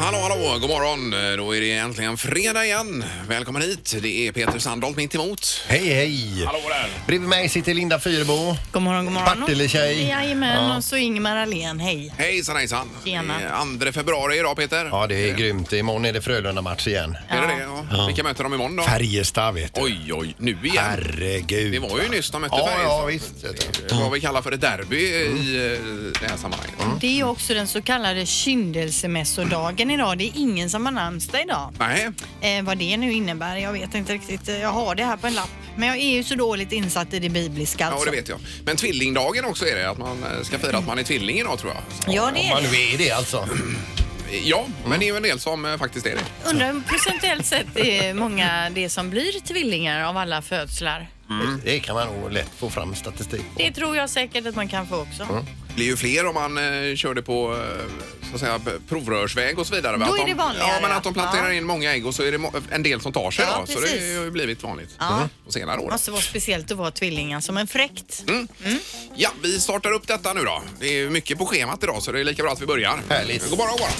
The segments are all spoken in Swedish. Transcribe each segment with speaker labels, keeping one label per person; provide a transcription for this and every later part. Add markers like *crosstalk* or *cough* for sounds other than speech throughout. Speaker 1: Ja, god morgon. Då är det äntligen fredag igen. Välkommen hit. Det är Peter Sandholt mitt emot.
Speaker 2: Hej, hej!
Speaker 1: Hallå där.
Speaker 2: Bredvid mig sitter Linda Fyrebo.
Speaker 3: God morgon, god morgon.
Speaker 2: Partille-tjej.
Speaker 3: Jajamän, och så Ingemar Ahlén, hej.
Speaker 1: Hejsan hejsan.
Speaker 3: Tjena.
Speaker 1: Det är 2 februari idag Peter.
Speaker 2: Ja, det är grymt. Imorgon är det Frölunda-match igen.
Speaker 1: Är det det? Ja. Vilka möter de imorgon då?
Speaker 2: Färjestad, vet du.
Speaker 1: Oj, oj, nu igen.
Speaker 2: Herregud.
Speaker 1: Det var ju nyss de mötte
Speaker 2: Ja,
Speaker 1: Färjestad.
Speaker 2: ja, Mm. visst. vet du.
Speaker 1: Det är Vad vi kallar för ett derby i eh, det här sammanhanget.
Speaker 3: Det är ju också den så kallade kyndelsemässodagen idag. Det är ingen som har namnsdag idag.
Speaker 1: Nej,
Speaker 3: Eh, vad det nu innebär, jag vet inte riktigt. Jag har det här på en lapp. Men jag är ju så dåligt insatt i det bibliska
Speaker 1: ja
Speaker 3: alltså.
Speaker 1: det vet jag. Men tvillingdagen också är det. Att man eh, ska fira att man är tvilling idag tror jag.
Speaker 3: Ja, det
Speaker 2: Om
Speaker 3: är
Speaker 2: man
Speaker 3: det.
Speaker 2: nu är det alltså.
Speaker 1: Ja, men det är ju en del som eh, faktiskt är det.
Speaker 3: Undrar om procentuellt sett är många det som blir tvillingar av alla födslar.
Speaker 1: Mm.
Speaker 2: Det kan man nog lätt få fram statistik på.
Speaker 3: Det tror jag säkert att man kan få också.
Speaker 1: Det blir ju fler om man eh, kör det på eh, så att säga, b- provrörsväg och så vidare. va?
Speaker 3: Då
Speaker 1: Att
Speaker 3: är
Speaker 1: de-
Speaker 3: det vanligare,
Speaker 1: Ja, men att de
Speaker 3: ja.
Speaker 1: planterar in många ägg och så är det mo- en del som tar sig.
Speaker 3: Ja,
Speaker 1: då, så det
Speaker 3: precis.
Speaker 1: har ju blivit vanligt
Speaker 3: Ja. Alltså-
Speaker 1: mm. på senare år.
Speaker 3: Måste vara speciellt att vara tvillingar som en fräckt.
Speaker 1: Ja, vi startar upp detta nu då. Det är ju mycket på schemat idag så det är lika bra att vi börjar.
Speaker 2: Härligt.
Speaker 1: God morgon, god morgon.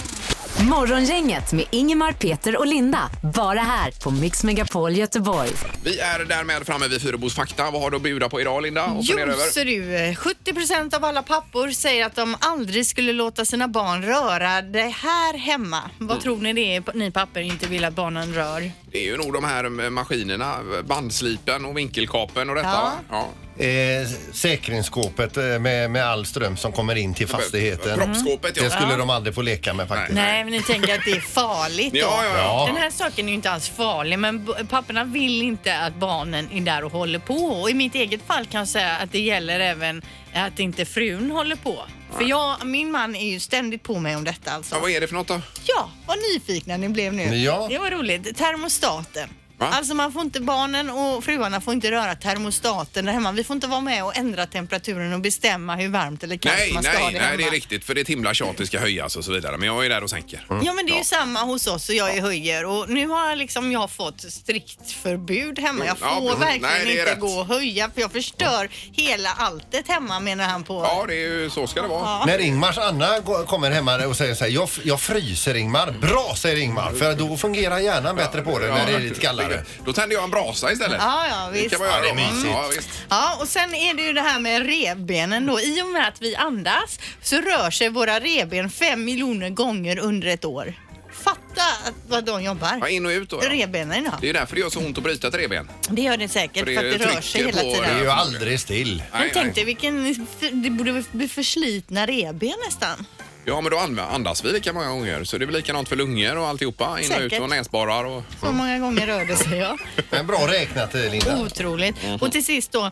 Speaker 4: Morgongänget med Ingemar, Peter och Linda. Bara här på Mix Megapol Göteborg.
Speaker 1: Vi är därmed framme vid Fyrebos fakta. Vad har du att bjuda på idag Linda? Och
Speaker 3: Jo,
Speaker 1: fundera över.
Speaker 3: ser du. eh, 70 av alla pappor säger att de aldrig skulle låta sina barn röra det här hemma. Vad
Speaker 1: Mm.
Speaker 3: tror ni det är p- ni pappor inte vill att barnen rör?
Speaker 1: Det är ju nog de här eh, maskinerna, bandslipen och vinkelkapen och detta.
Speaker 3: Ja.
Speaker 1: va? Ja.
Speaker 2: Eh, säkringsskåpet eh, med, med all ström som kommer in till fastigheten.
Speaker 1: Proppskåpet, ja.
Speaker 2: Det skulle de aldrig få leka med faktiskt.
Speaker 3: Nej, men ni tänker att det
Speaker 1: *laughs*
Speaker 3: är farligt då.
Speaker 1: Ja, ja, ja.
Speaker 2: Ja.
Speaker 3: Den här saken är ju inte alls farlig, men b- papporna vill inte att barnen är där och håller på. Och i mitt eget fall kan jag säga att det gäller även att inte frun håller på. För jag, min man är ju ständigt på mig om detta alltså.
Speaker 1: ja. Vad är det för något då?
Speaker 3: Ja, vad nyfikna ni blev nu.
Speaker 2: Ja.
Speaker 3: Det var roligt. Termostaten.
Speaker 1: Va?
Speaker 3: Alltså man får inte, barnen och fruarna får inte röra termostaten där hemma. Vi får inte vara med och ändra temperaturen och bestämma hur varmt eller kallt
Speaker 1: Nej,
Speaker 3: man ska ha
Speaker 1: nej,
Speaker 3: det
Speaker 1: nej,
Speaker 3: hemma.
Speaker 1: det är riktigt. För det är ett himla tjat, det ska höjas och så vidare. Men jag är där och sänker.
Speaker 3: Ja men det är ju
Speaker 1: Ja.
Speaker 3: samma hos oss och jag är höjer och nu har jag liksom jag fått strikt förbud hemma. Jag får
Speaker 1: Ja, precis.
Speaker 3: verkligen
Speaker 1: Nej, det är
Speaker 3: inte
Speaker 1: rätt.
Speaker 3: gå och höja för jag förstör hela alltet hemma menar han på.
Speaker 1: Ja, det är ju, så ska det vara.
Speaker 2: När Ingmars Anna går- kommer hemma och säger så här, jag, f- jag fryser Ingmar. Bra säger Ingmar, för då fungerar hjärnan bättre på det när det är lite kallare.
Speaker 1: Då tänder jag en brasa istället.
Speaker 3: Ja, ja,
Speaker 1: Det kan
Speaker 3: visst.
Speaker 1: man göra.
Speaker 2: Ja, det är
Speaker 1: då.
Speaker 2: mysigt.
Speaker 1: Ja, visst.
Speaker 3: Ja, och sen är det ju det här med revbenen då. I och med att vi andas så rör sig våra revben fem miljoner gånger under ett år. Fatta att- vad de
Speaker 1: Ja,
Speaker 3: jobbar.
Speaker 1: in och ut då. Ja.
Speaker 3: Revbenen, ja.
Speaker 1: Det är ju därför det gör så ont att bryta ett revben.
Speaker 3: Det gör det säkert
Speaker 1: För
Speaker 3: för,
Speaker 1: det
Speaker 3: att det rör sig
Speaker 1: trycker
Speaker 3: hela
Speaker 1: på
Speaker 2: Det är
Speaker 3: tiden.
Speaker 2: ju aldrig still.
Speaker 1: Nej,
Speaker 3: Men tänk
Speaker 1: nej.
Speaker 3: dig vilken, det borde bli förslitna revben nästan.
Speaker 1: Ja, men då anv- andas vi lika många gånger. Så det är väl likadant för lungor och alltihopa. In och ut
Speaker 3: Säkert.
Speaker 1: och näsborrar och...
Speaker 3: Så många gånger rör det sig ja.
Speaker 2: Men bra räknat eh, Linda.
Speaker 3: Otroligt.
Speaker 2: Mhm.
Speaker 3: Och till sist då,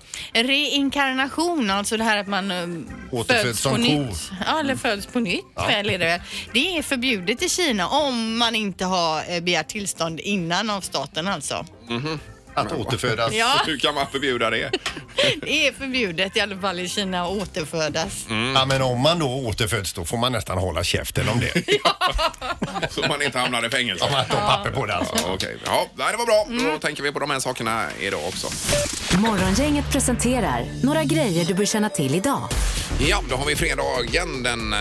Speaker 3: reinkarnation, alltså det här att man eh,
Speaker 2: Återföds som
Speaker 3: på
Speaker 2: ko. Mm.
Speaker 3: nytt. Ja, eller föds på nytt väl är det väl. Det är förbjudet i Kina om man inte har eh, begärt tillstånd innan av
Speaker 2: *laughs*
Speaker 3: staten alltså.
Speaker 2: Att återfödas.
Speaker 3: Ja,
Speaker 1: Hur kan man förbjuda det?
Speaker 3: det är förbjudet i alla fall i Kina att återfödas.
Speaker 2: Ja, men om man då återföds då får man nästan hålla
Speaker 1: *laughs*
Speaker 2: käften om det.
Speaker 1: Så man inte hamnar i
Speaker 2: Om
Speaker 1: fängelse.
Speaker 2: man tar papper på det alltså.
Speaker 1: Ja, Okej, ja, nej, det var bra.
Speaker 3: Mm.
Speaker 1: Då tänker vi på de här sakerna idag också.
Speaker 4: Morgongänget presenterar några grejer du bör känna till idag.
Speaker 1: Ja, då har vi fredagen den eh,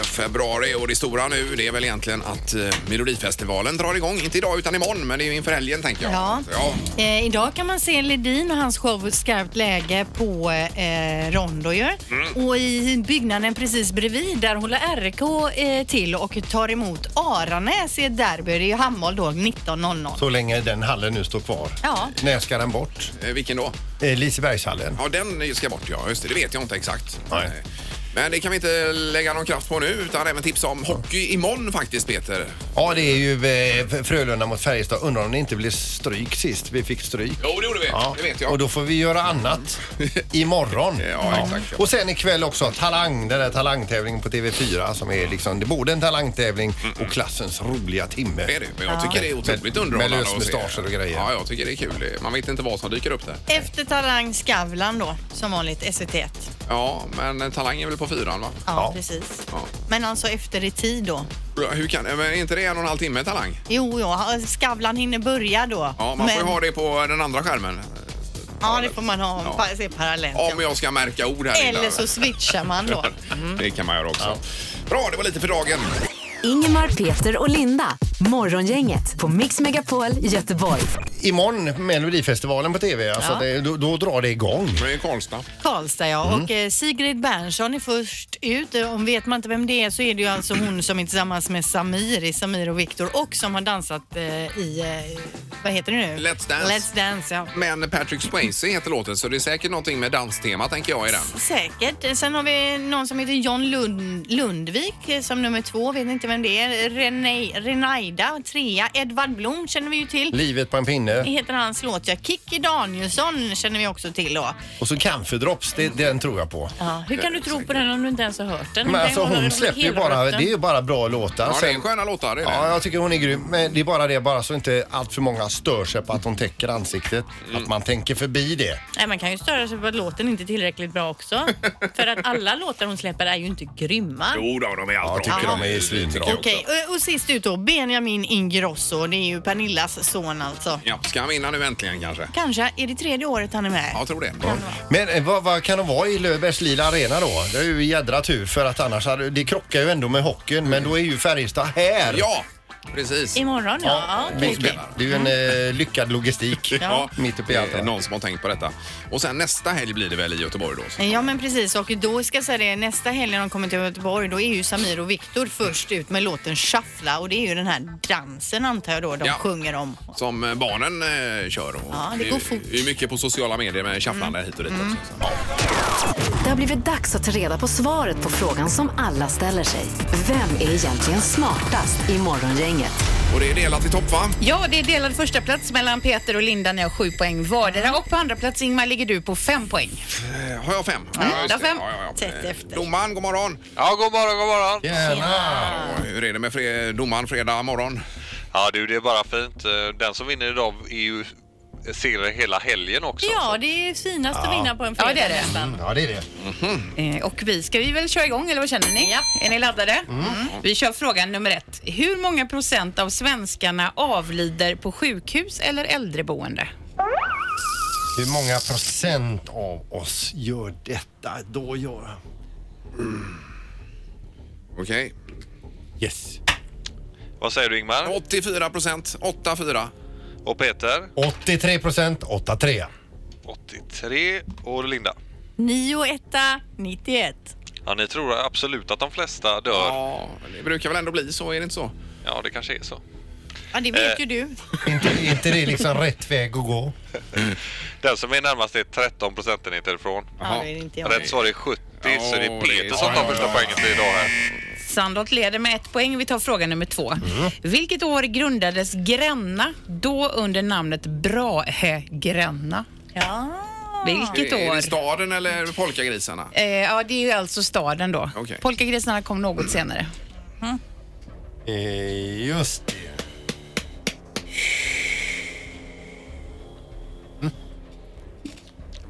Speaker 1: 2 februari och det stora nu det är väl egentligen att eh, Melodifestivalen drar igång. Inte idag utan imorgon, men det är ju inför helgen tänker jag.
Speaker 3: Ja.
Speaker 1: ja.
Speaker 3: Eh, idag kan man se Ledin och hans show Skarpt läge på eh, Rondo ju.
Speaker 1: Mm.
Speaker 3: Och i byggnaden precis bredvid där håller RK eh, till och tar emot Aranäs i ett derby. Det är ju handboll då 19.00.
Speaker 2: Så länge den hallen nu står kvar.
Speaker 3: Ja.
Speaker 2: När ska den bort?
Speaker 1: Eh, Vilken då?
Speaker 2: Eh, Lisebergshallen.
Speaker 1: Ja, den ska bort ja. Just det, det vet jag inte exakt.
Speaker 2: Nej.
Speaker 1: Eh, Men det kan vi inte lägga någon kraft på nu utan även tipsa om hockey imorgon faktiskt Peter.
Speaker 2: Ja, det är ju eh, Frölunda mot Färjestad. Undrar om det inte blev stryk sist vi fick stryk.
Speaker 1: Jo, det gjorde vi. Det vet jag.
Speaker 2: Och då får vi göra annat imorgon.
Speaker 1: Ja, exakt.
Speaker 2: Och sen ikväll också Talang, den där talangtävlingen på TV4 som är liksom, det är både en talangtävling och klassens roliga timme.
Speaker 1: Det är det. Men jag tycker det är otroligt
Speaker 2: Med-
Speaker 1: underhållande
Speaker 2: med
Speaker 1: att se.
Speaker 2: lösmustascher och grejer.
Speaker 1: Ja, jag tycker det är kul. Man vet inte vad som dyker upp där.
Speaker 3: Efter Talang Skavlan då, som vanligt SVT1.
Speaker 1: Ja, men eh, Talang är väl på fyran va?
Speaker 3: Ja,
Speaker 2: Ja.
Speaker 3: precis.
Speaker 1: Ja.
Speaker 3: Men alltså efter i tid då.
Speaker 1: Ja, Hur kan, men är inte det en och en halv timme Talang?
Speaker 3: Jo, jo, Skavlan hinner börja då.
Speaker 1: Ja, man får
Speaker 3: Men-
Speaker 1: ju ha det på den andra skärmen.
Speaker 3: ja, det får man ha,
Speaker 1: Ja.
Speaker 3: pa- se parallellt.
Speaker 1: Om jag ska märka ord här Mm.
Speaker 3: Eller så switchar
Speaker 1: *laughs*
Speaker 3: man då.
Speaker 1: Det kan man göra också. Bra, det var lite för dagen.
Speaker 4: Ingemar, Peter och Linda. Morgongänget på Mix Megapol Göteborg.
Speaker 2: Imorgon, Melodifestivalen på TV, alltså
Speaker 3: Ja.
Speaker 2: det, då, då drar det igång.
Speaker 1: Det är Karlstad.
Speaker 3: Karlstad ja.
Speaker 2: Mm.
Speaker 3: Och eh, Sigrid Bernson är först ut. Eh, Om vet man inte vem det är så är det ju alltså hon som är tillsammans med Samir i Samir och Viktor och som har dansat eh, i, eh, vad heter det nu?
Speaker 1: Let's Dance.
Speaker 3: Let's Dance ja.
Speaker 1: Men Patrick Swayze heter låten så det är säkert någonting med danstema tänker jag i den.
Speaker 3: Säkert. Sen har vi någon som heter John Lund, Lundvik eh, som nummer två, vet inte vem det är. Rene, Renaida, trea. Edvard Blom känner vi ju till.
Speaker 2: Livet på en pinne.
Speaker 3: Heter hans låt ja. Kikki Danielsson känner vi också till då.
Speaker 2: Och så Camphordrops, det, den tror jag på.
Speaker 3: Ja, hur kan du tro på den om du inte ens har hört den?
Speaker 2: Men alltså hon släpper ju bara, det är ju bara bra låtar.
Speaker 1: Ja, det är
Speaker 2: Sen,
Speaker 1: en sköna låtar. det Är det.
Speaker 2: ja, jag tycker hon är grym. Men det är bara det, bara så inte allt för många stör sig på att hon täcker ansiktet. Att man tänker förbi det.
Speaker 5: Nej, man kan ju störa sig på att låten inte är tillräckligt bra
Speaker 1: *laughs*
Speaker 5: också. För att alla låtar hon släpper är ju inte grymma.
Speaker 1: Jo då, de är allt
Speaker 2: Jag
Speaker 1: bra.
Speaker 2: tycker de är svinbra.
Speaker 1: Tycker jag också.
Speaker 3: Okej, och, och sist ut då Benjamin Ingrosso. Det är ju Pernillas son alltså.
Speaker 1: Ja, ska han vinna nu äntligen kanske?
Speaker 3: Kanske är det tredje året han är med.
Speaker 1: Ja, jag tror det.
Speaker 2: Men eh, vad, vad kan de vara i Löfbergs Lila Arena då? Det är ju jädra tur för att annars hade, det krockar ju ändå med hockeyn. Men då är ju Färjestad här.
Speaker 1: Ja, precis.
Speaker 5: Imorgon ja. ja okej,
Speaker 2: det,
Speaker 5: okej.
Speaker 2: det, det är ju en eh, lyckad logistik
Speaker 1: Ja.
Speaker 2: mitt uppe i allt.
Speaker 1: Det är Någon som har tänkt på detta. Och sen nästa helg blir det väl i Göteborg då? Så.
Speaker 3: Ja men precis och då ska jag säga det nästa helg när de kommer till Göteborg då är ju Samir och Viktor först ut med låten Shuffla och det är ju den här dansen antar jag då de
Speaker 1: Ja.
Speaker 3: sjunger om.
Speaker 1: Som eh, barnen eh, kör. Och
Speaker 3: Ja, det går fort.
Speaker 1: Det är ju mycket på sociala medier med shufflande hit och dit. Också.
Speaker 4: Det har blivit dags att ta reda på svaret på frågan som alla ställer sig. Vem är egentligen smartast i Morgongänget?
Speaker 1: Och det är delat i topp va?
Speaker 6: Ja, det är delad första plats mellan Peter och Linda. Ni har sju poäng vardera. Och på andra plats Ingmar ligger du på fem poäng.
Speaker 1: Eh, Har jag fem?
Speaker 6: Mm,
Speaker 1: just
Speaker 6: du
Speaker 1: det.
Speaker 6: har fem.
Speaker 1: ja,
Speaker 6: Tätt
Speaker 1: Eh,
Speaker 6: efter.
Speaker 1: Domaren, god morgon.
Speaker 7: Ja, god morgon, god morgon.
Speaker 2: Tjena!
Speaker 1: Ja, Hur är det med fre- domaren fredag morgon?
Speaker 7: Ja, du, det är bara fint. Eh, Den som vinner idag är ju eh, segrare hela helgen också.
Speaker 5: Ja, det är finast att vinna på en fredag
Speaker 6: Ja, det är det.
Speaker 5: nästan.
Speaker 2: Ja, det är det.
Speaker 6: Eh, Och vi ska vi väl köra igång, eller vad känner ni? Är ni laddade? Mm. Vi kör frågan nummer ett. Hur många procent av svenskarna avlider på sjukhus eller äldreboende?
Speaker 2: Hur många procent av oss gör detta? Då gör...
Speaker 1: Okej.
Speaker 2: Yes.
Speaker 7: Vad säger du Ingmar?
Speaker 1: 84 procent, 84.
Speaker 7: Och Peter?
Speaker 2: 83 procent, 83.
Speaker 7: 83. Och Linda?
Speaker 5: 9 och 1, 91.
Speaker 7: Ja, ni tror absolut att de flesta dör. Ja,
Speaker 1: Ja, det brukar väl ändå bli så, är det inte så?
Speaker 7: det kanske är så.
Speaker 3: Ja det vet
Speaker 7: Eh.
Speaker 3: ju du.
Speaker 2: inte, är inte det liksom rätt väg att gå?
Speaker 7: Den som är närmast är 13 procentenheter ifrån.
Speaker 3: Ja, det är inte jag.
Speaker 7: Rätt svar är 70, så det
Speaker 1: Ja,
Speaker 7: är Peter
Speaker 1: det är-
Speaker 7: som
Speaker 1: ja,
Speaker 7: tar
Speaker 1: ja,
Speaker 7: första
Speaker 1: ja.
Speaker 7: poängen till idag här.
Speaker 6: Sandholt leder med ett poäng. Vi tar fråga nummer två. Vilket år grundades Gränna, då under namnet Brahä Gränna?
Speaker 5: Ja.
Speaker 6: Vilket
Speaker 1: Är det
Speaker 6: år?
Speaker 1: staden eller polkagrisarna?
Speaker 6: Eh, ja, det är ju alltså staden då.
Speaker 1: Okej.
Speaker 6: Polkagrisarna kom något senare.
Speaker 2: Eh, just det.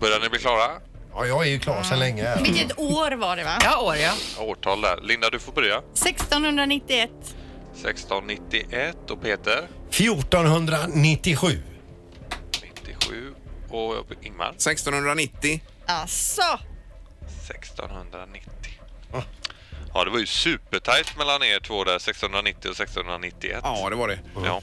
Speaker 7: Börjar ni bli klara?
Speaker 2: Ja, jag är ju klar sedan länge. här.
Speaker 5: Vilket år var det va?
Speaker 6: Ja, år ja.
Speaker 7: Årtal där. Linda, du får börja.
Speaker 5: 1691.
Speaker 7: 1691 och Peter?
Speaker 2: 1497.
Speaker 7: 97 och Ingmar?
Speaker 1: 1690.
Speaker 5: Asså.
Speaker 7: 1690.
Speaker 1: Ah.
Speaker 7: Ja, det var ju supertajt mellan er två där, 1690 och 1691.
Speaker 1: Ja, det var det.
Speaker 7: Ja.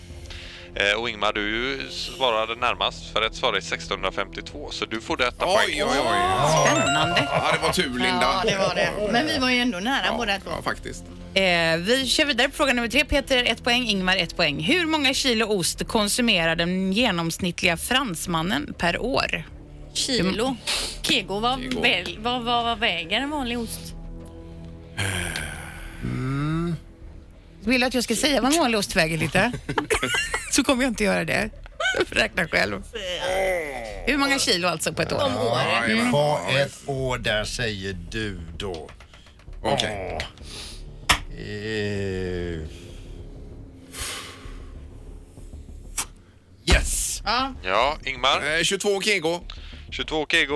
Speaker 7: Eh, Och Ingmar, du svarade närmast, för rätt svar är 1652, så du får detta
Speaker 1: Oj, oj,
Speaker 7: poäng.
Speaker 1: oj.
Speaker 6: Spännande.
Speaker 1: Ja, det var tur Linda.
Speaker 3: Ja det var det. Men vi var ju ändå nära
Speaker 1: Ja,
Speaker 3: båda två.
Speaker 1: ja, faktiskt.
Speaker 6: Eh, vi kör vidare på fråga nummer tre. Peter ett poäng, Ingmar ett poäng. Hur många kilo ost konsumerar den genomsnittliga fransmannen per år? Mm.
Speaker 5: Kilo. Kego, vad,
Speaker 1: Kego.
Speaker 5: väl- vad, vad, vad väger en vanlig ost?
Speaker 6: Vill du att jag ska säga vad en vanlig ost väger lite? *laughs* Så kommer jag inte göra det. Jag får räkna själv. Hur många kilo alltså på ett år?
Speaker 1: Ja, jajamän.
Speaker 2: Vad ett år där säger du då?
Speaker 1: Okej.
Speaker 2: Eh. Yes!
Speaker 7: Ja, Ingmar,
Speaker 1: Eh, 22 kego.
Speaker 7: 22 kg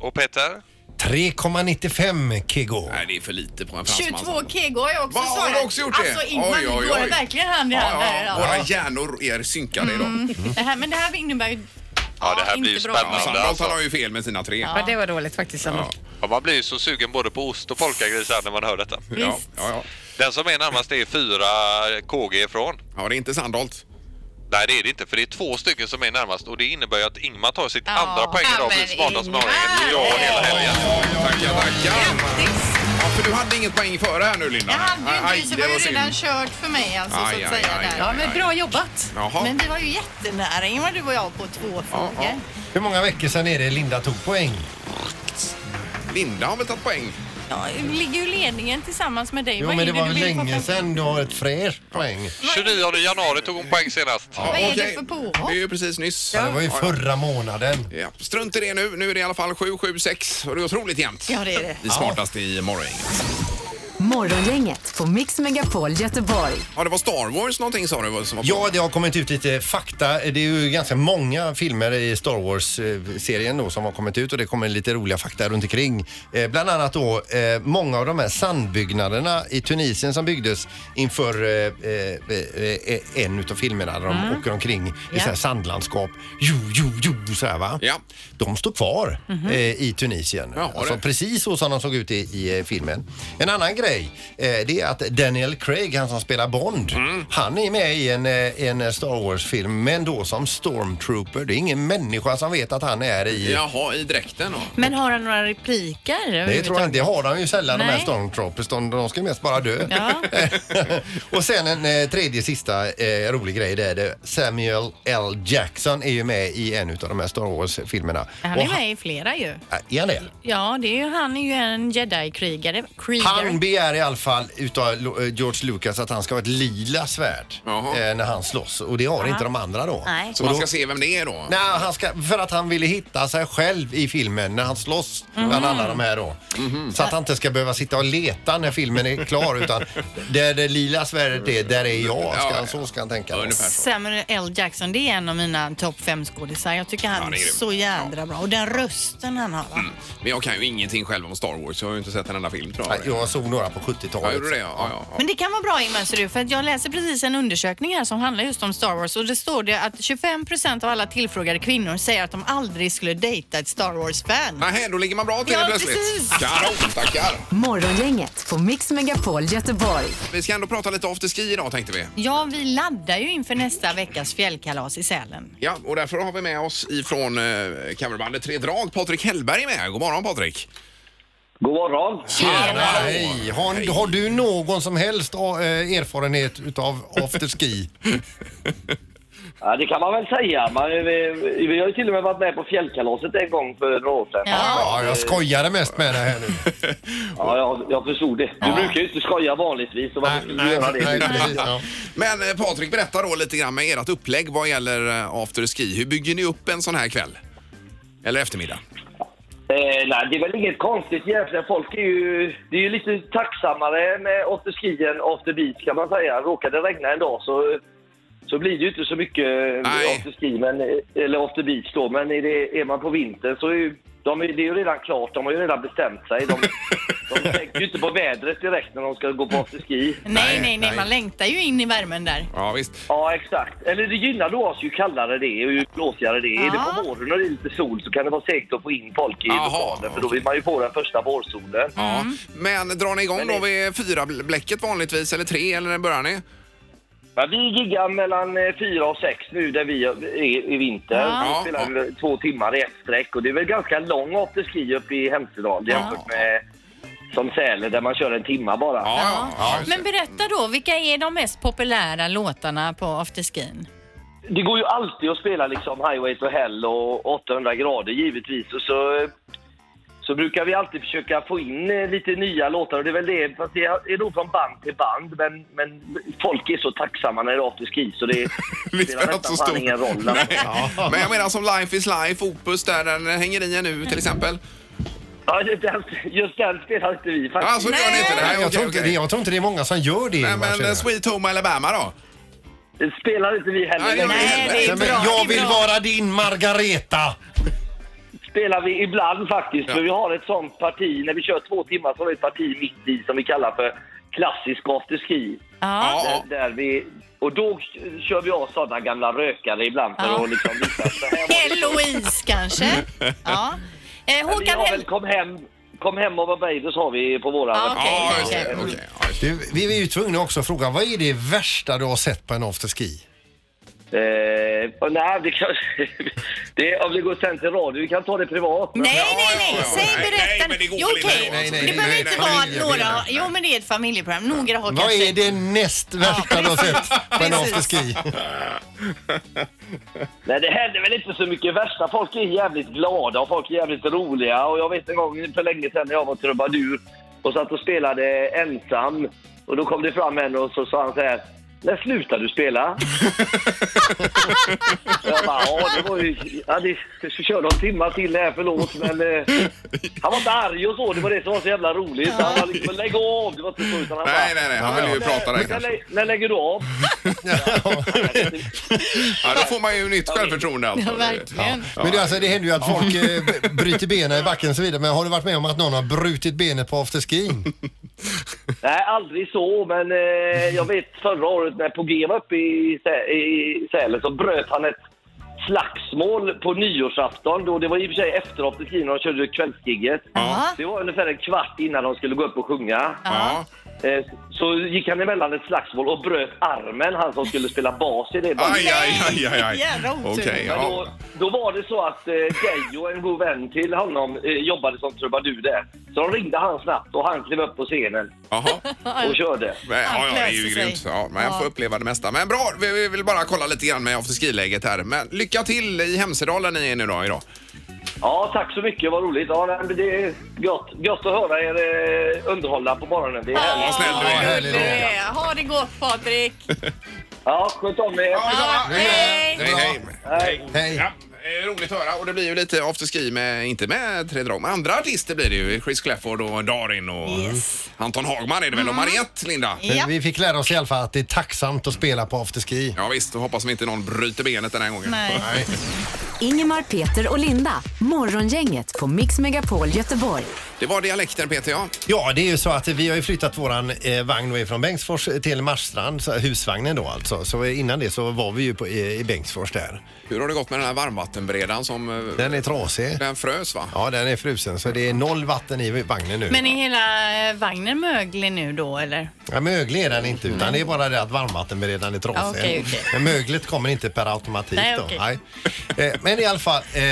Speaker 7: och Peter?
Speaker 2: 3,95 kg.
Speaker 1: Nej, det är för lite på en fransman.
Speaker 5: 22 kego har jag också
Speaker 1: Va, har
Speaker 5: svarat.
Speaker 1: du också gjort det?
Speaker 5: Alltså Ingmar,
Speaker 1: Oj, oj,
Speaker 5: vi
Speaker 1: oj.
Speaker 5: går verkligen hand i hand
Speaker 1: Ja,
Speaker 5: här
Speaker 1: ja,
Speaker 5: idag.
Speaker 1: våra hjärnor är synkade idag.
Speaker 5: Det här, men det här innebär ju...
Speaker 7: Ja, det här
Speaker 5: inte
Speaker 7: blir ju
Speaker 5: bra.
Speaker 7: spännande. Alltså,
Speaker 2: alltså.
Speaker 1: Sandholt han har ju fel med sina tre.
Speaker 6: Ja, det var dåligt faktiskt. Sandra.
Speaker 7: Ja, man blir ju så sugen både på ost och polkagrisar när man hör detta.
Speaker 1: Ja, ja, ja.
Speaker 7: Den som är närmast är 4 KG ifrån.
Speaker 1: ja, det är inte Sandholt.
Speaker 7: Nej, det är det inte, för det är två stycken som är närmast och det innebär ju att Ingmar tar sitt
Speaker 5: Ja.
Speaker 7: andra poäng
Speaker 6: Ja,
Speaker 7: idag och
Speaker 6: men
Speaker 7: blir smartast med
Speaker 6: Ingmar!
Speaker 7: aningen. Ja, hela helgen.
Speaker 1: Tackar, tackar.
Speaker 6: Grattis!
Speaker 1: Ja, för du hade inget poäng före här nu, Linda.
Speaker 5: Jag hade ju inte, så det var ju redan kört för mig alltså
Speaker 1: Aj,
Speaker 5: så att
Speaker 1: aj,
Speaker 5: säga.
Speaker 1: aj,
Speaker 5: där.
Speaker 1: aj,
Speaker 5: ja,
Speaker 1: aj.
Speaker 5: men bra jobbat!
Speaker 1: Jaha.
Speaker 5: Men vi var ju jättenära Ingmar, du och jag på två frågor.
Speaker 1: ja.
Speaker 2: Hur många veckor sedan är det Linda tog poäng?
Speaker 1: Linda har väl tagit poäng?
Speaker 5: Ja, ligger ju ledningen tillsammans med dig.
Speaker 2: Jo,
Speaker 5: Vad
Speaker 2: men
Speaker 5: är
Speaker 2: det var
Speaker 5: du
Speaker 2: väl
Speaker 5: vill få
Speaker 2: länge
Speaker 5: fram?
Speaker 2: sedan du har ett fräscht poäng.
Speaker 7: 29 januari tog hon poäng senast.
Speaker 1: Ja,
Speaker 5: är det
Speaker 1: okej.
Speaker 5: för påhopp?
Speaker 1: Det är ju precis nyss.
Speaker 2: Det var ju förra månaden.
Speaker 1: Ja, strunt i det nu. Nu är det i alla fall 7-7-6 och det är otroligt jämnt.
Speaker 5: Ja, det är det.
Speaker 1: Vi smartaste i morgon.
Speaker 4: Morgongänget på Mix Megapol Göteborg.
Speaker 1: Ja, det var Star Wars någonting sa du som var på.
Speaker 2: Ja, det har kommit ut lite fakta. Det är ju ganska många filmer i Star Wars-serien då som har kommit ut och det kommer lite roliga fakta runt omkring. Eh, bland annat då eh, många av de här sandbyggnaderna i Tunisien som byggdes inför eh, eh, eh, eh, en utav filmerna där de
Speaker 5: Mm.
Speaker 2: åker omkring i så här sandlandskap. Jo, jo, jo, så här va.
Speaker 1: Ja.
Speaker 2: De står kvar
Speaker 5: Mhm.
Speaker 2: eh, i Tunisien.
Speaker 1: Jaha,
Speaker 2: alltså,
Speaker 1: det.
Speaker 2: precis så som de såg ut i, i eh, filmen. En annan grej, eh, det är att Daniel Craig, han som spelar Bond, han är med i en, eh, en Star Wars-film, men då som stormtrooper. Det är ingen människa som vet att han är i...
Speaker 1: Jaha, i dräkten och...
Speaker 5: Men har han några repliker?
Speaker 2: Det tror jag inte. Det har de ju sällan de här
Speaker 5: Nej.
Speaker 2: stormtroopers. De, de ska ju mest bara dö.
Speaker 5: Ja.
Speaker 2: *laughs* och sen en eh, tredje sista eh, rolig grej. Det är det. Samuel L. Jackson är ju med i en av de här Star Wars-filmerna.
Speaker 5: Han är
Speaker 2: Och
Speaker 5: med i flera ju.
Speaker 2: han- Är han det?
Speaker 5: Ja, det är ju, han är ju en jedi-krigare.
Speaker 2: Han
Speaker 5: Krieger.
Speaker 2: begär i alla fall utav Lo- eh, George Lucas att han ska ha ett lila svärd
Speaker 1: Jaha.
Speaker 2: eh, när han slåss och det har inte de andra då.
Speaker 5: Nej.
Speaker 1: Så man ska se vem det är då?
Speaker 2: Nej, han ska, för att han ville hitta sig själv i filmen när han slåss bland alla de här då.
Speaker 1: Mhm.
Speaker 2: Så att han inte ska behöva sitta och leta när filmen är klar utan där det lila svärdet är, där är jag. Ska,
Speaker 1: Ja, ja.
Speaker 2: Så ska han tänka.
Speaker 1: Ungefär så.
Speaker 5: Samuel L. Jackson, det är en av mina topp fem skådisar. Jag tycker han
Speaker 1: Ja, Mm, det
Speaker 5: är
Speaker 1: är grym.
Speaker 5: så jädra bra. Och den rösten han har. va?
Speaker 1: Men jag kan ju ingenting själv om Star Wars. Jag har ju inte sett en enda film tror
Speaker 2: Nej,
Speaker 1: jag.
Speaker 2: Jag såg några på
Speaker 1: Ja,
Speaker 2: 70-talet.
Speaker 1: gjorde du det? Ja, ja, ja.
Speaker 5: Men det kan vara bra Ingmar, ser du, för att jag läser precis en undersökning här som handlar just om Star Wars och det står det att 25% av alla tillfrågade kvinnor säger att de aldrig skulle dejta ett Star Wars-fan.
Speaker 1: Nähä, då ligger man bra till
Speaker 5: Ja,
Speaker 1: plötsligt.
Speaker 5: precis.
Speaker 1: *laughs* Kanon, tackar.
Speaker 4: Morgongänget på Mix Megapol Göteborg.
Speaker 1: Vi ska ändå prata lite afterski idag tänkte vi.
Speaker 5: Ja, vi laddar ju inför nästa veckas fjällkalas i Sälen.
Speaker 1: Ja, och därför har vi med oss ifrån eh, coverbandet Tre Drag, Patrik Hellberg är med. God morgon Patrik!
Speaker 8: God morgon!
Speaker 2: Tjena, hej. Har, har du någon som helst eh, erfarenhet utav afterski?
Speaker 8: Ja, det kan man väl säga. Man, vi, vi har ju till och med varit med på fjällkalaset en gång för några år sedan. Ja.
Speaker 2: Ja, jag skojade mest med det här nu.
Speaker 8: jag, jag förstod det. Du brukar ju inte skoja vanligtvis, så varför skulle du göra det?
Speaker 2: nej, precis, ja.
Speaker 1: Men eh, Patrik, berätta då lite grann med ert upplägg vad gäller eh, afterski. Hur bygger ni upp en sån här kväll? Eller eftermiddag?
Speaker 8: Eh, nej, det är väl inget konstigt egentligen. Folk är ju, det är ju lite tacksammare med after ski än after beach kan man säga. Råkar det regna en dag så, så blir det ju inte så mycket
Speaker 1: Nej.
Speaker 8: after ski men, eller after beach då. Men är, det, är man på vintern så är ju, de är, det är ju redan klart. De har ju redan bestämt
Speaker 1: *laughs*
Speaker 8: sig. De, de tänker ju inte på vädret direkt när de ska gå på after ski.
Speaker 5: Nej, nej, nej,
Speaker 1: nej.
Speaker 5: man längtar ju in i värmen där.
Speaker 1: Ja, visst.
Speaker 8: Ja, exakt. Eller det gynnar då oss ju kallare det är och ju blåsigare det är. Är det på våren och det är lite sol så kan det vara segt att få in folk i
Speaker 1: Jaha,
Speaker 8: lokalen för då
Speaker 1: okej.
Speaker 8: vill man ju få den första vårsolen.
Speaker 1: Ja. Men drar ni igång
Speaker 8: Mm. Men
Speaker 1: då
Speaker 8: det-
Speaker 1: vid fyra bl- bläcket vanligtvis, eller tre, eller när börjar ni?
Speaker 8: Men vi giggar mellan eh, fyra och sex nu där vi är i vinter.
Speaker 1: Ja.
Speaker 8: Vi spelar väl två timmar i ett sträck och det är väl ganska lång afterski uppe i Hemsedal jämfört med som Säle där man kör en timma bara.
Speaker 1: ja. just det.
Speaker 5: Men berätta då, vilka är de mest populära låtarna på afterskin?
Speaker 8: Det går ju alltid att spela liksom Highway to Hell och 800 grader givetvis. Och så, så brukar vi alltid försöka få in eh, lite nya låtar och det är väl det, fast det är nog från band till band. Men, men folk är så tacksamma när det är afterski så det
Speaker 1: *laughs* Det
Speaker 8: spelar nästan fan ingen roll.
Speaker 1: Nej. Men jag menar som Life is Life, Opus där, den hänger i en nu till exempel.
Speaker 8: Ja, det- den- just den spelar inte vi faktiskt.
Speaker 1: Alltså, gör ni inte det?
Speaker 2: Nej, jag,
Speaker 1: okej,
Speaker 2: tror inte,
Speaker 1: okej.
Speaker 2: det- jag tror inte det är många som gör det.
Speaker 1: Nej,
Speaker 2: Ingmar,
Speaker 1: men
Speaker 2: känner
Speaker 1: eh,
Speaker 2: jag.
Speaker 1: Sweet Home Alabama då?
Speaker 8: Det spelar inte vi heller.
Speaker 1: Nej, det gör
Speaker 8: längre.
Speaker 1: vi
Speaker 5: det
Speaker 1: inte.
Speaker 5: är
Speaker 2: Nej, men
Speaker 5: bra,
Speaker 2: jag
Speaker 5: det är
Speaker 2: vill
Speaker 5: bra.
Speaker 2: vara din Margareta.
Speaker 8: spelar vi ibland faktiskt. För vi har ett sånt parti, när vi kör två timmar så har vi ett parti mitt i som vi kallar för klassisk afterski.
Speaker 1: Ja, ja.
Speaker 8: Där, där vi, och då kör vi av sådana gamla rökare ibland för
Speaker 5: Ja.
Speaker 8: att liksom visa att det här var...
Speaker 5: Eloise kanske? Ja. Eh,
Speaker 8: Men
Speaker 5: Håkan
Speaker 8: Jag väl
Speaker 5: Hell...
Speaker 8: kom hem Kom hem och Barbados har vi på våran.
Speaker 6: Ja, okej.
Speaker 1: Ja, just det. Okej, ja, just det.
Speaker 2: Du, vi är ju tvungna också att fråga, vad är det värsta du har sett på en afterski?
Speaker 8: Eh, och nej, det kan... *laughs* det, om det går sen till radio, vi kan ta det privat.
Speaker 5: Nej,
Speaker 1: Ja,
Speaker 5: nej,
Speaker 1: ja,
Speaker 5: nej.
Speaker 1: ja,
Speaker 5: Säg
Speaker 1: ja. Nej,
Speaker 5: berätta.
Speaker 1: nej, men det går
Speaker 5: jo,
Speaker 1: väl inte
Speaker 5: okej.
Speaker 1: då, alltså.
Speaker 2: Nej,
Speaker 5: Det
Speaker 2: nej,
Speaker 5: behöver
Speaker 2: nej,
Speaker 5: inte
Speaker 2: nej,
Speaker 5: vara
Speaker 2: nej,
Speaker 5: några...
Speaker 2: nej.
Speaker 5: Jo, men det är ett familjeprogram. Några har
Speaker 2: Vad
Speaker 5: kanske...
Speaker 2: är det näst värsta du har sett på en
Speaker 5: precis.
Speaker 2: afterski?
Speaker 8: Nej, det händer väl inte så mycket värsta. Folk är jävligt glada och folk är jävligt roliga. Och jag vet en gång för länge sedan när jag var trubadur och satt och spelade ensam. Och då kom det fram en och så sa han så här. När slutar du
Speaker 1: *laughs*
Speaker 8: spela? Och jag bara, ja det var ju... Ja, det, vi kör någon timma till här, förlåt. Men eh, han var inte arg och så, det var det som var så jävla roligt. Han var liksom, lägg av! Det var inte så, utan han
Speaker 1: Nej,
Speaker 8: bara,
Speaker 1: nej, nej. Han vill ju prata där
Speaker 8: när,
Speaker 1: kanske.
Speaker 8: lä- när lägger
Speaker 1: *laughs*
Speaker 8: du av?
Speaker 1: Ja, då får man ju nytt självförtroende alltså.
Speaker 5: Ja, verkligen.
Speaker 1: Ja.
Speaker 2: Men det, är alltså, det händer ju att folk eh, b- bryter benen i backen och så vidare. Men har du varit med om att någon har brutit benet på afterskin?
Speaker 8: Nej, aldrig så, men eh, jag vet förra året när Pogge var uppe i, Sä- i Sälen så bröt han ett slagsmål på nyårsafton. Då det var i och för sig efter afterskin och de körde kvällsgigget.
Speaker 1: Ja.
Speaker 8: Det var ungefär en kvart innan de skulle gå upp och sjunga.
Speaker 1: Ja.
Speaker 8: Eh, så gick han emellan ett slagsmål och bröt armen, han som skulle spela bas i det bandet.
Speaker 1: Aj, aj, aj, aj, aj.
Speaker 5: Jävla otur.
Speaker 1: Okej,
Speaker 8: Men då,
Speaker 1: ja.
Speaker 8: då var det så att eh, Geijo, en god vän till honom, eh, jobbade som trubadur där. Så de ringde han snabbt och han klev upp på scenen
Speaker 1: Jaha.
Speaker 8: och körde.
Speaker 1: Men, Ja, ja, det är ju
Speaker 5: Allt löser
Speaker 1: grymt.
Speaker 5: sig.
Speaker 1: Ja, men jag får
Speaker 5: Ja.
Speaker 1: uppleva det mesta. Men bra, vi vi vill bara kolla lite grann med afterski-läget här. Men lycka till i Hemsedalen ni är nu då, idag.
Speaker 8: Ja, tack så mycket. Vad roligt. Ja, nej, men det är gott, gott att höra er eh, underhålla på morgonen. Det är härligt.
Speaker 1: Vad snäll du
Speaker 2: Ja,
Speaker 1: är.
Speaker 2: härligt.
Speaker 5: Gullig du är. Ha det gott, Patrik.
Speaker 8: Ja, sköt om er.
Speaker 1: Ja,
Speaker 2: Hej då.
Speaker 1: Hej, hej.
Speaker 8: Hej.
Speaker 2: Hej.
Speaker 1: Ja, eh, roligt att höra och det blir ju lite afterski med, inte med Tre Drag, men andra artister blir det ju. Chris Clafford och Darin och Anton Hagman är det väl och Mariette, Linda?
Speaker 5: Mm. Ja.
Speaker 2: Vi fick lära oss i alla fall att det är tacksamt att spela på afterski.
Speaker 1: Ja visst, då hoppas vi inte någon bryter benet den här gången.
Speaker 5: Nej.
Speaker 4: Ingemar, Peter och Linda. Morgongänget på Mix Megapol Göteborg.
Speaker 1: Det var dialekten Peter, ja.
Speaker 2: Ja, det är ju så att vi har ju flyttat våran eh, vagn då ifrån Bengtsfors till Marstrand, så- husvagnen då alltså. Så innan det så var vi ju på, i, i Bengtsfors där.
Speaker 1: Hur har det gått med den här varmvattenbredan som... eh,
Speaker 2: Den är trasig.
Speaker 1: Den frös va?
Speaker 2: Ja, den är frusen så det är noll vatten i vagnen nu.
Speaker 5: Men är hela eh, vagnen möglig nu då, eller?
Speaker 2: Ja, möglig är den inte utan det är bara det att varmvattenberedaren är trasig.
Speaker 5: Ja, okej, okej.
Speaker 2: Men möglet kommer inte per automatik
Speaker 5: Nej,
Speaker 2: då.
Speaker 5: okej.
Speaker 2: Nej. Eh, Men i alla fall, eh,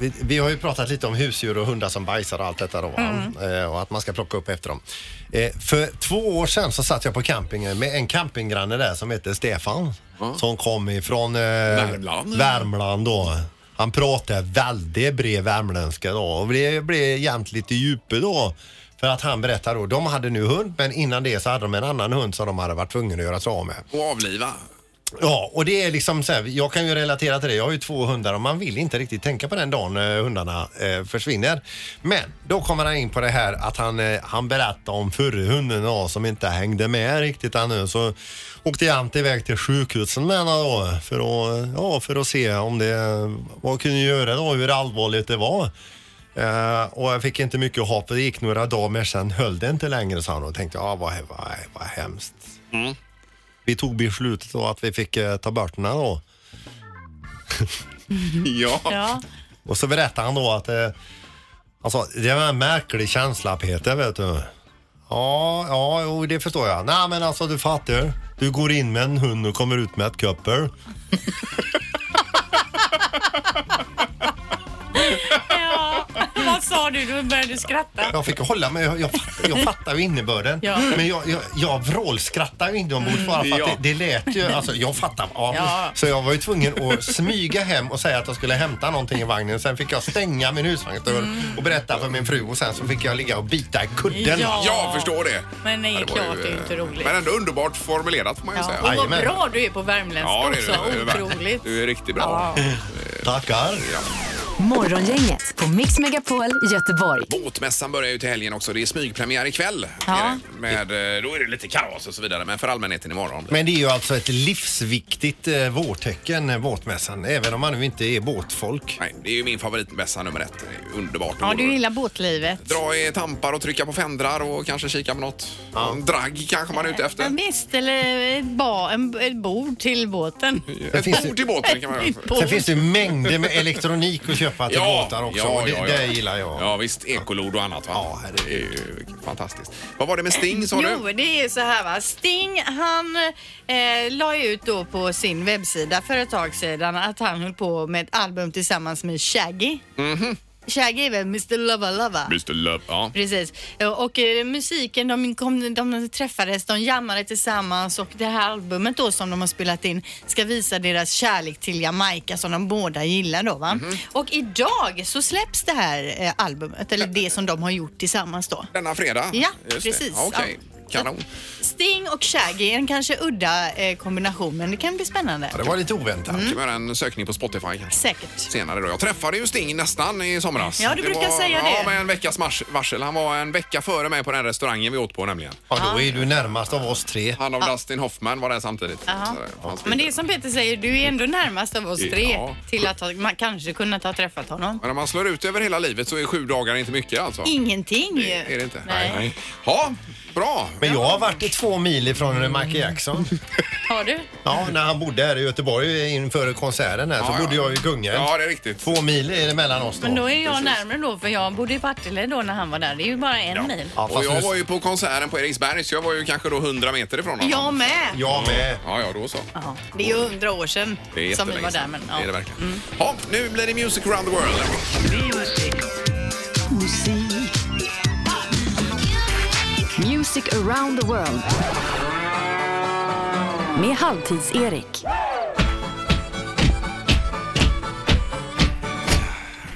Speaker 2: vi, vi har ju pratat lite om husdjur och hundar som bajsar och allt detta då. va?
Speaker 5: Mm.
Speaker 2: Eh, Och att man ska plocka upp efter dem. Eh, För två år sedan så satt jag på campingen med en campinggranne där som heter Stefan. Som kom ifrån eh,
Speaker 1: Värmland.
Speaker 2: Värmland då. Han pratade väldigt bred värmländska då och det blev jämt lite djupe då. För att han berättar då, de hade nu hund men innan det så hade de en annan hund som de hade varit tvungna att göra sig av med.
Speaker 1: Och avliva.
Speaker 2: Ja, och det är liksom så här, jag kan ju relatera till det. Jag har ju två hundar och man vill inte riktigt tänka på den dagen eh, hundarna eh, försvinner. Men då kommer han in på det här att han, eh, han berättar om förre hunden då, som inte hängde med riktigt ännu. Så åkte jag inte iväg till sjukhuset med henne då för att, ja, för att se om det, vad jag kunde göra då, hur allvarligt det var. Eh, och jag fick inte mycket hopp. Det gick några dagar men sen höll det inte längre sa han och tänkte, ja vad, vad, vad hemskt. Vi tog beslutet då att vi fick eh, ta bort den här då.
Speaker 1: Ja.
Speaker 5: Ja.
Speaker 2: Och så berättade han då att eh, han sa, det var en märklig känsla Peter vet du. Ja, ja, jo, det förstår jag. Nej men alltså du fattar. Du går in med en hund och kommer ut med ett köppel.
Speaker 5: ja. *laughs* Vad sa du? Då började du skratta.
Speaker 2: Jag fick hålla mig, jag, jag, fatt- jag fattar ju innebörden.
Speaker 5: Ja.
Speaker 2: Men jag, jag, jag vrålskrattar ju inombords bara för att
Speaker 1: Mm. Ja.
Speaker 2: det, det lät ju, alltså jag fattar. Ja.
Speaker 5: Ja.
Speaker 2: Så jag var ju tvungen att smyga hem och säga att jag skulle hämta någonting i vagnen. Sen fick jag stänga min husvagnsdörr
Speaker 5: Mm.
Speaker 2: och berätta för min fru och sen så fick jag ligga och bita i kudden.
Speaker 5: Ja.
Speaker 1: Jag förstår det.
Speaker 5: Men nej,
Speaker 1: Ja, var
Speaker 5: klart
Speaker 1: ju,
Speaker 5: det är ju inte
Speaker 1: eh,
Speaker 5: roligt.
Speaker 1: Men ändå underbart formulerat får man ju
Speaker 5: Ja.
Speaker 1: säga.
Speaker 5: Och vad
Speaker 2: Jajamän.
Speaker 5: bra du är på värmländska
Speaker 1: Ja, det är
Speaker 5: också.
Speaker 1: det. Det är
Speaker 5: Otroligt.
Speaker 1: Du är riktigt bra.
Speaker 5: Ja.
Speaker 2: Tackar.
Speaker 4: Morgongänget på Mix Megapol Göteborg.
Speaker 1: Båtmässan börjar ju till helgen också. Det är smygpremiär ikväll.
Speaker 5: Ja.
Speaker 1: Är det. Med, eh, då är det lite kalas och så vidare, men för allmänheten imorgon.
Speaker 2: Men det är ju alltså ett livsviktigt eh, vårtecken, eh, båtmässan, även om man nu inte är båtfolk.
Speaker 1: Nej, det är ju min favoritmässa nummer ett. Det är ju Underbart.
Speaker 5: Ja, du gillar båtlivet.
Speaker 1: Dra i tampar och trycka på fändrar och kanske kika på något. En dragg kanske man är ute
Speaker 5: Ja,
Speaker 1: efter.
Speaker 5: visst, eller ett, ba, en, ett bord till båten.
Speaker 1: Ett
Speaker 2: finns
Speaker 1: bord
Speaker 2: det-
Speaker 1: i båten kan man göra.
Speaker 5: Ett bord.
Speaker 2: Sen finns det ju mängder med elektronik att
Speaker 9: köpa till båtar också. och det, det gillar jag.
Speaker 1: Ja, visst. Ekolod och annat va? Ja, det är ju fantastiskt. Vad var det med Sting sa du?
Speaker 3: Jo, det är så här va. Sting han eh, la ju ut då på sin webbsida för ett tag sedan att han höll på med ett album tillsammans med Shaggy.
Speaker 1: Mhm.
Speaker 3: Shaggy är väl Mr Lova Lova?
Speaker 1: Mr Love. Ja.
Speaker 3: Precis. Och eh, musiken, de, kom, de träffades, de jammade tillsammans och det här albumet då som de har spelat in ska visa deras kärlek till Jamaica som de båda gillar då va.
Speaker 1: Mhm.
Speaker 3: Och idag så släpps det här eh, albumet, eller det som de har gjort tillsammans då.
Speaker 1: Denna fredag?
Speaker 3: Ja,
Speaker 1: Just det.
Speaker 3: precis.
Speaker 1: Ja, Okej, kanon.
Speaker 3: Sting och Shaggy, en kanske udda eh, kombination men det kan bli spännande.
Speaker 9: Ja, det var lite oväntat.
Speaker 1: Kan vi göra en sökning på Spotify kanske?
Speaker 3: Säkert.
Speaker 1: senare då. Jag träffade ju Sting nästan i somras.
Speaker 3: Ja, du brukar
Speaker 1: var,
Speaker 3: säga
Speaker 1: Ja,
Speaker 3: det.
Speaker 1: med en veckas mars- varsel. Han var en vecka före mig på den här restaurangen vi åt på nämligen.
Speaker 9: Ja, då är du närmast av oss tre.
Speaker 1: Han och Dustin Hoffman var där samtidigt. Så det fanns
Speaker 3: Men det
Speaker 1: bilder.
Speaker 3: är som Peter säger, du är ändå närmast av oss tre
Speaker 1: Ja.
Speaker 3: till att ha, man kanske kunnat ha träffat honom.
Speaker 1: Men om man slår ut över hela livet så är sju dagar inte mycket alltså.
Speaker 3: Ingenting ju.
Speaker 1: Är det inte?
Speaker 3: Nej.
Speaker 1: Ja, bra.
Speaker 9: Men jag har varit i två mil ifrån Michael Jackson.
Speaker 3: Har du?
Speaker 9: Ja, när han bodde här i Göteborg inför konserten här så
Speaker 1: Ja, ja.
Speaker 9: bodde jag i Kungälv.
Speaker 1: Ja, det är riktigt.
Speaker 9: Två mil är det mellan oss då.
Speaker 3: Men då är jag närmare då för jag bodde i Partille då när han var där. Det är ju bara en mil.
Speaker 9: Ja,
Speaker 1: Och
Speaker 9: fast
Speaker 1: jag
Speaker 9: nu-
Speaker 1: var ju på konserten på Eriksberg så jag var ju kanske då 100 meter ifrån honom.
Speaker 3: Jag med.
Speaker 9: Jag med.
Speaker 1: Ja, ja, då så.
Speaker 3: Ja, det är ju hundra år sedan
Speaker 1: Det är
Speaker 3: som vi
Speaker 1: jättelänge
Speaker 3: var där.
Speaker 1: sedan.
Speaker 3: Men, Mm.
Speaker 1: Det är det verkligen. Ja, nu blir det Music around the world.
Speaker 4: Music around the world. Med Halvtids-Erik.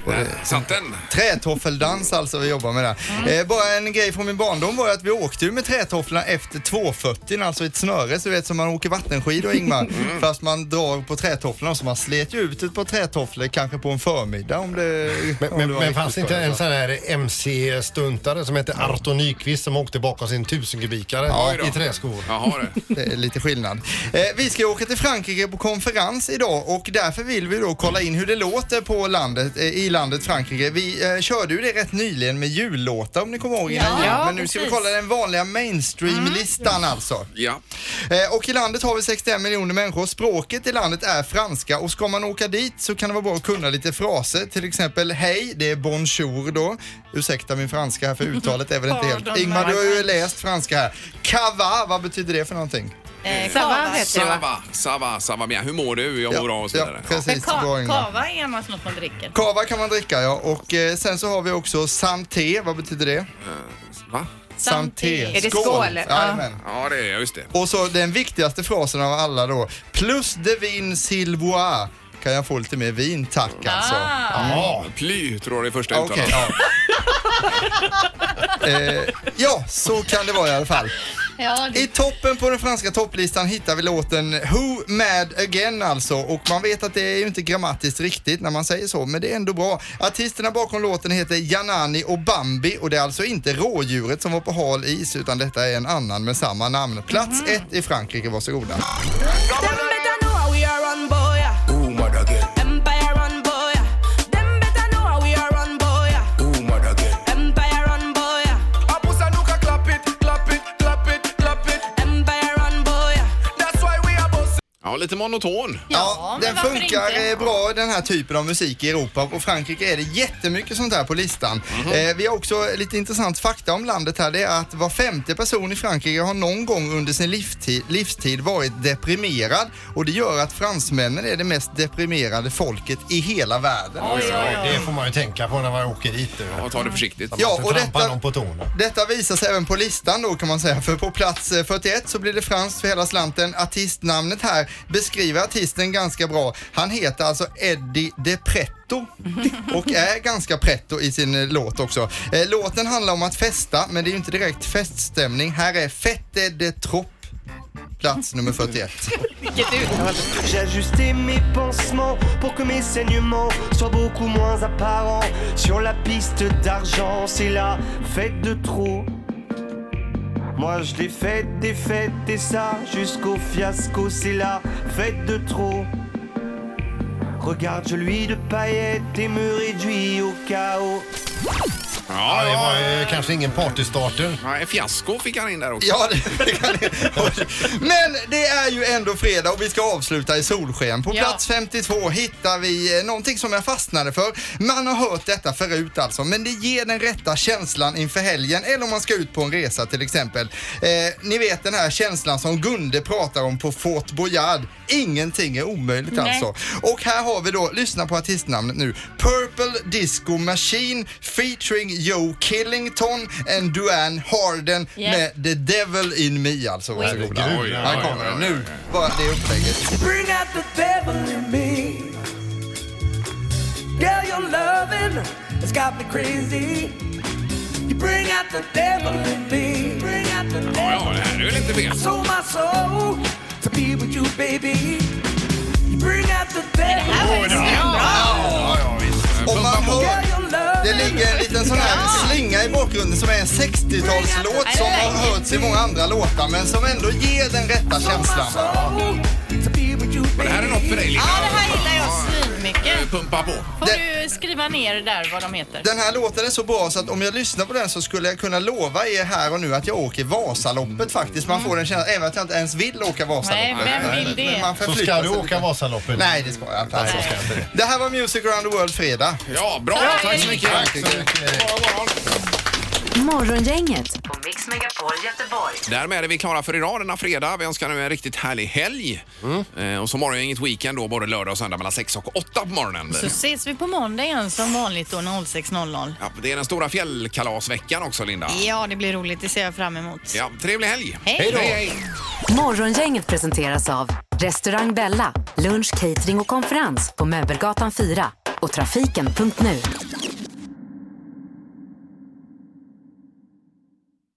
Speaker 1: Där satt den.
Speaker 2: Trätoffeldans alltså vi jobbar med där.
Speaker 5: Mm.
Speaker 2: Eh, bara en grej från min barndom var ju att vi åkte ju med trätofflorna efter 240 alltså ett snöre så du vet som man åker vattenskidor Ingmar.
Speaker 5: Mm.
Speaker 2: Fast man drar på trätofflorna så man slet ju ut ett par trätofflor kanske på en förmiddag om det...
Speaker 9: Men,
Speaker 2: om
Speaker 9: men,
Speaker 2: det var
Speaker 9: men
Speaker 2: riktigt
Speaker 9: fanns det inte
Speaker 2: skoj,
Speaker 9: en
Speaker 2: så.
Speaker 9: sån här MC-stuntare som hette Arton Nyqvist som åkte bakom sin tusengubikare
Speaker 1: Oj då.
Speaker 9: i träskor?
Speaker 1: Jaha, det.
Speaker 2: Det är lite skillnad. Eh, vi ska ju åka till Frankrike på konferens idag och därför vill vi då kolla in hur det låter på landet, eh, i landet Frankrike. Vi eh, körde ju det rätt nyligen med jullåtar om ni kommer ihåg innan
Speaker 3: Ja,
Speaker 2: jul.
Speaker 3: ja,
Speaker 2: Men nu ska vi
Speaker 3: precis.
Speaker 2: kolla den vanliga mainstream-listan alltså.
Speaker 1: Ja.
Speaker 2: Eh, Och i landet har vi 61 miljoner människor. Språket i landet är franska och ska man åka dit så kan det vara bra att kunna lite fraser. Till exempel hej, det är bonjour då. Ursäkta min franska här för uttalet är väl inte helt...
Speaker 3: Pardon,
Speaker 2: Ingmar, du har ju
Speaker 3: Michael.
Speaker 2: läst franska här. Kava, vad betyder det för någonting?
Speaker 3: eh,
Speaker 6: Sava
Speaker 3: kava.
Speaker 6: vet du va?
Speaker 1: Sava, Sava, Sava bien. Hur mår du? Jag mår bra och så
Speaker 2: ja,
Speaker 1: vidare. Ja,
Speaker 2: precis. Bra,
Speaker 3: Ka-
Speaker 2: Ingmar.
Speaker 3: kava är annars något man dricker.
Speaker 2: Kava kan man dricka ja. Och eh, sen så har vi också santé, vad betyder det?
Speaker 1: Va?
Speaker 6: Är det skål?
Speaker 2: Jajamän.
Speaker 1: Ja, det är just det.
Speaker 2: Och så den viktigaste frasen av alla då. Plus de vin s'il boit. Kan jag få lite mer vin tack
Speaker 6: Ah.
Speaker 2: alltså.
Speaker 1: Ja, ply tror jag det är första
Speaker 2: Okej,
Speaker 1: uttalandet.
Speaker 2: ja.
Speaker 3: *laughs*
Speaker 2: eh, ja, så kan det vara i alla fall.
Speaker 3: Ja, det
Speaker 2: I toppen på den franska topplistan hittar vi låten Who Mad Again alltså och man vet att det är ju inte grammatiskt riktigt när man säger så men det är ändå bra. Artisterna bakom låten heter Janani och Bambi och det är alltså inte rådjuret som var på hal is utan detta är en annan med samma namn. Plats
Speaker 3: Mhm.
Speaker 2: ett i Frankrike, varsågoda.
Speaker 1: Ja, lite monoton.
Speaker 2: Ja,
Speaker 3: Ja, men
Speaker 2: den
Speaker 3: varför
Speaker 2: funkar
Speaker 3: inte?
Speaker 2: eh, bra den här typen av musik i Europa och Frankrike är det jättemycket sånt här på listan.
Speaker 9: Mhm.
Speaker 2: eh, vi har också lite intressant fakta om landet här. Det är att var femte person i Frankrike har någon gång under sin livstid, livstid varit deprimerad och det gör att fransmännen är det mest deprimerade folket i hela världen.
Speaker 9: Det får man ju tänka på när man åker hit.
Speaker 1: Ja, ta det försiktigt.
Speaker 2: Ja,
Speaker 9: Ja, och
Speaker 2: och
Speaker 9: trampa
Speaker 2: detta-
Speaker 9: någon på tårna.
Speaker 2: Detta visar sig även på listan då kan man säga, för på plats eh, 41 så blir det franskt för hela slanten. Artistnamnet här beskriver artisten ganska bra. Han heter alltså Eddie De
Speaker 8: *laughs*
Speaker 2: Pretto och är ganska pretto i sin eh, låt också. Eh, Låten handlar om att festa, men det är ju inte direkt feststämning. Här är Fette de Trop. Plats nummer 41.
Speaker 8: J'ai ajusté mes pansements pour que mes saignements soient beaucoup moins apparents. Sur la piste d'argent, c'est la fête de trop. Moi je l'ai fête des fêtes et ça jusqu'au fiasco, c'est la fête de trop. Regarde, je lui de paillettes et me réduis au chaos.
Speaker 10: Ja, det var eh, kanske ingen partystarter.
Speaker 1: Nej, fiasko fick han in där också.
Speaker 2: Ja, det, det kan det. Men det är ju ändå fredag och vi ska avsluta i solsken. På
Speaker 6: Ja.
Speaker 2: plats 52 hittar vi eh, någonting som jag fastnade för. Man har hört detta förut alltså, men det ger den rätta känslan inför helgen eller om man ska ut på en resa till exempel. Eh, ni vet den här känslan som Gunde pratar om på Fort Boyard. Ingenting är omöjligt alltså. Och här har vi då, lyssna på artistnamnet nu, Purple Disco Machine featuring Joe Killington and Duane Harden
Speaker 3: Ja.
Speaker 2: med The Devil In Me alltså. Varsågoda.
Speaker 10: Herregud.
Speaker 1: Oj,
Speaker 2: Här
Speaker 1: oj,
Speaker 2: kommer
Speaker 1: oj,
Speaker 2: den.
Speaker 1: oj.
Speaker 2: Nu bara det upplägget.
Speaker 11: Bring out the devil in me. Girl, your loving has got me crazy. You bring out the devil in me. Bring out the devil.
Speaker 1: Ja, det här är ju lite fel.
Speaker 11: Sold my soul to be with you, baby. You bring out the devil. in me.
Speaker 1: Ja, ja, visst.
Speaker 2: Om man hör,
Speaker 11: Girl, your loving-
Speaker 2: det ligger en liten sån här slinga i bakgrunden som är en 60-talslåt som har hörts i många andra låtar men som ändå ger den rätta
Speaker 11: Sold my
Speaker 2: känslan.
Speaker 11: soul to be with you,
Speaker 1: Men det här är
Speaker 11: baby.
Speaker 1: något för dig, Linda.
Speaker 3: Ja, det här gillar jag svinmycket.
Speaker 1: Pumpa på.
Speaker 3: Får
Speaker 2: Det-
Speaker 3: du skriva ner där vad de heter?
Speaker 2: Den här låten är så bra så att om jag lyssnar på den så skulle jag kunna lova er här och nu att jag åker Vasaloppet faktiskt. Man får den känslan, även att jag inte ens vill åka
Speaker 3: Nej,
Speaker 2: Vasaloppet.
Speaker 3: vem vill
Speaker 2: Men
Speaker 3: det?
Speaker 2: man
Speaker 10: Så
Speaker 2: förflyttar
Speaker 10: ska du
Speaker 2: sig
Speaker 10: åka
Speaker 2: lite.
Speaker 10: Vasaloppet?
Speaker 2: Nej, det ska jag inte.
Speaker 10: Nej, så ska jag inte det.
Speaker 2: Det här var Music around the world fredag.
Speaker 1: Ja, bra. Tack så mycket.
Speaker 10: Tack så mycket.
Speaker 1: God morgon, god morgon.
Speaker 4: Morgongänget på Mix Megapol Göteborg.
Speaker 1: Därmed är vi klara för idag denna fredag. Vi önskar nu en riktigt härlig helg. Eh, och så morgon inget weekend då, både lördag och söndag mellan 6 och 8 på morgonen.
Speaker 3: Så ses vi på måndag igen som vanligt då 06.00.
Speaker 1: Ja, det är den stora fjällkalasveckan också, Linda.
Speaker 3: Ja, det blir roligt. Det ser jag fram emot.
Speaker 1: Ja, trevlig helg.
Speaker 3: Hej. Hej då.
Speaker 4: Morgongänget presenteras av Restaurang Bella, lunch, catering och konferens på Möbelgatan 4 och trafiken.nu.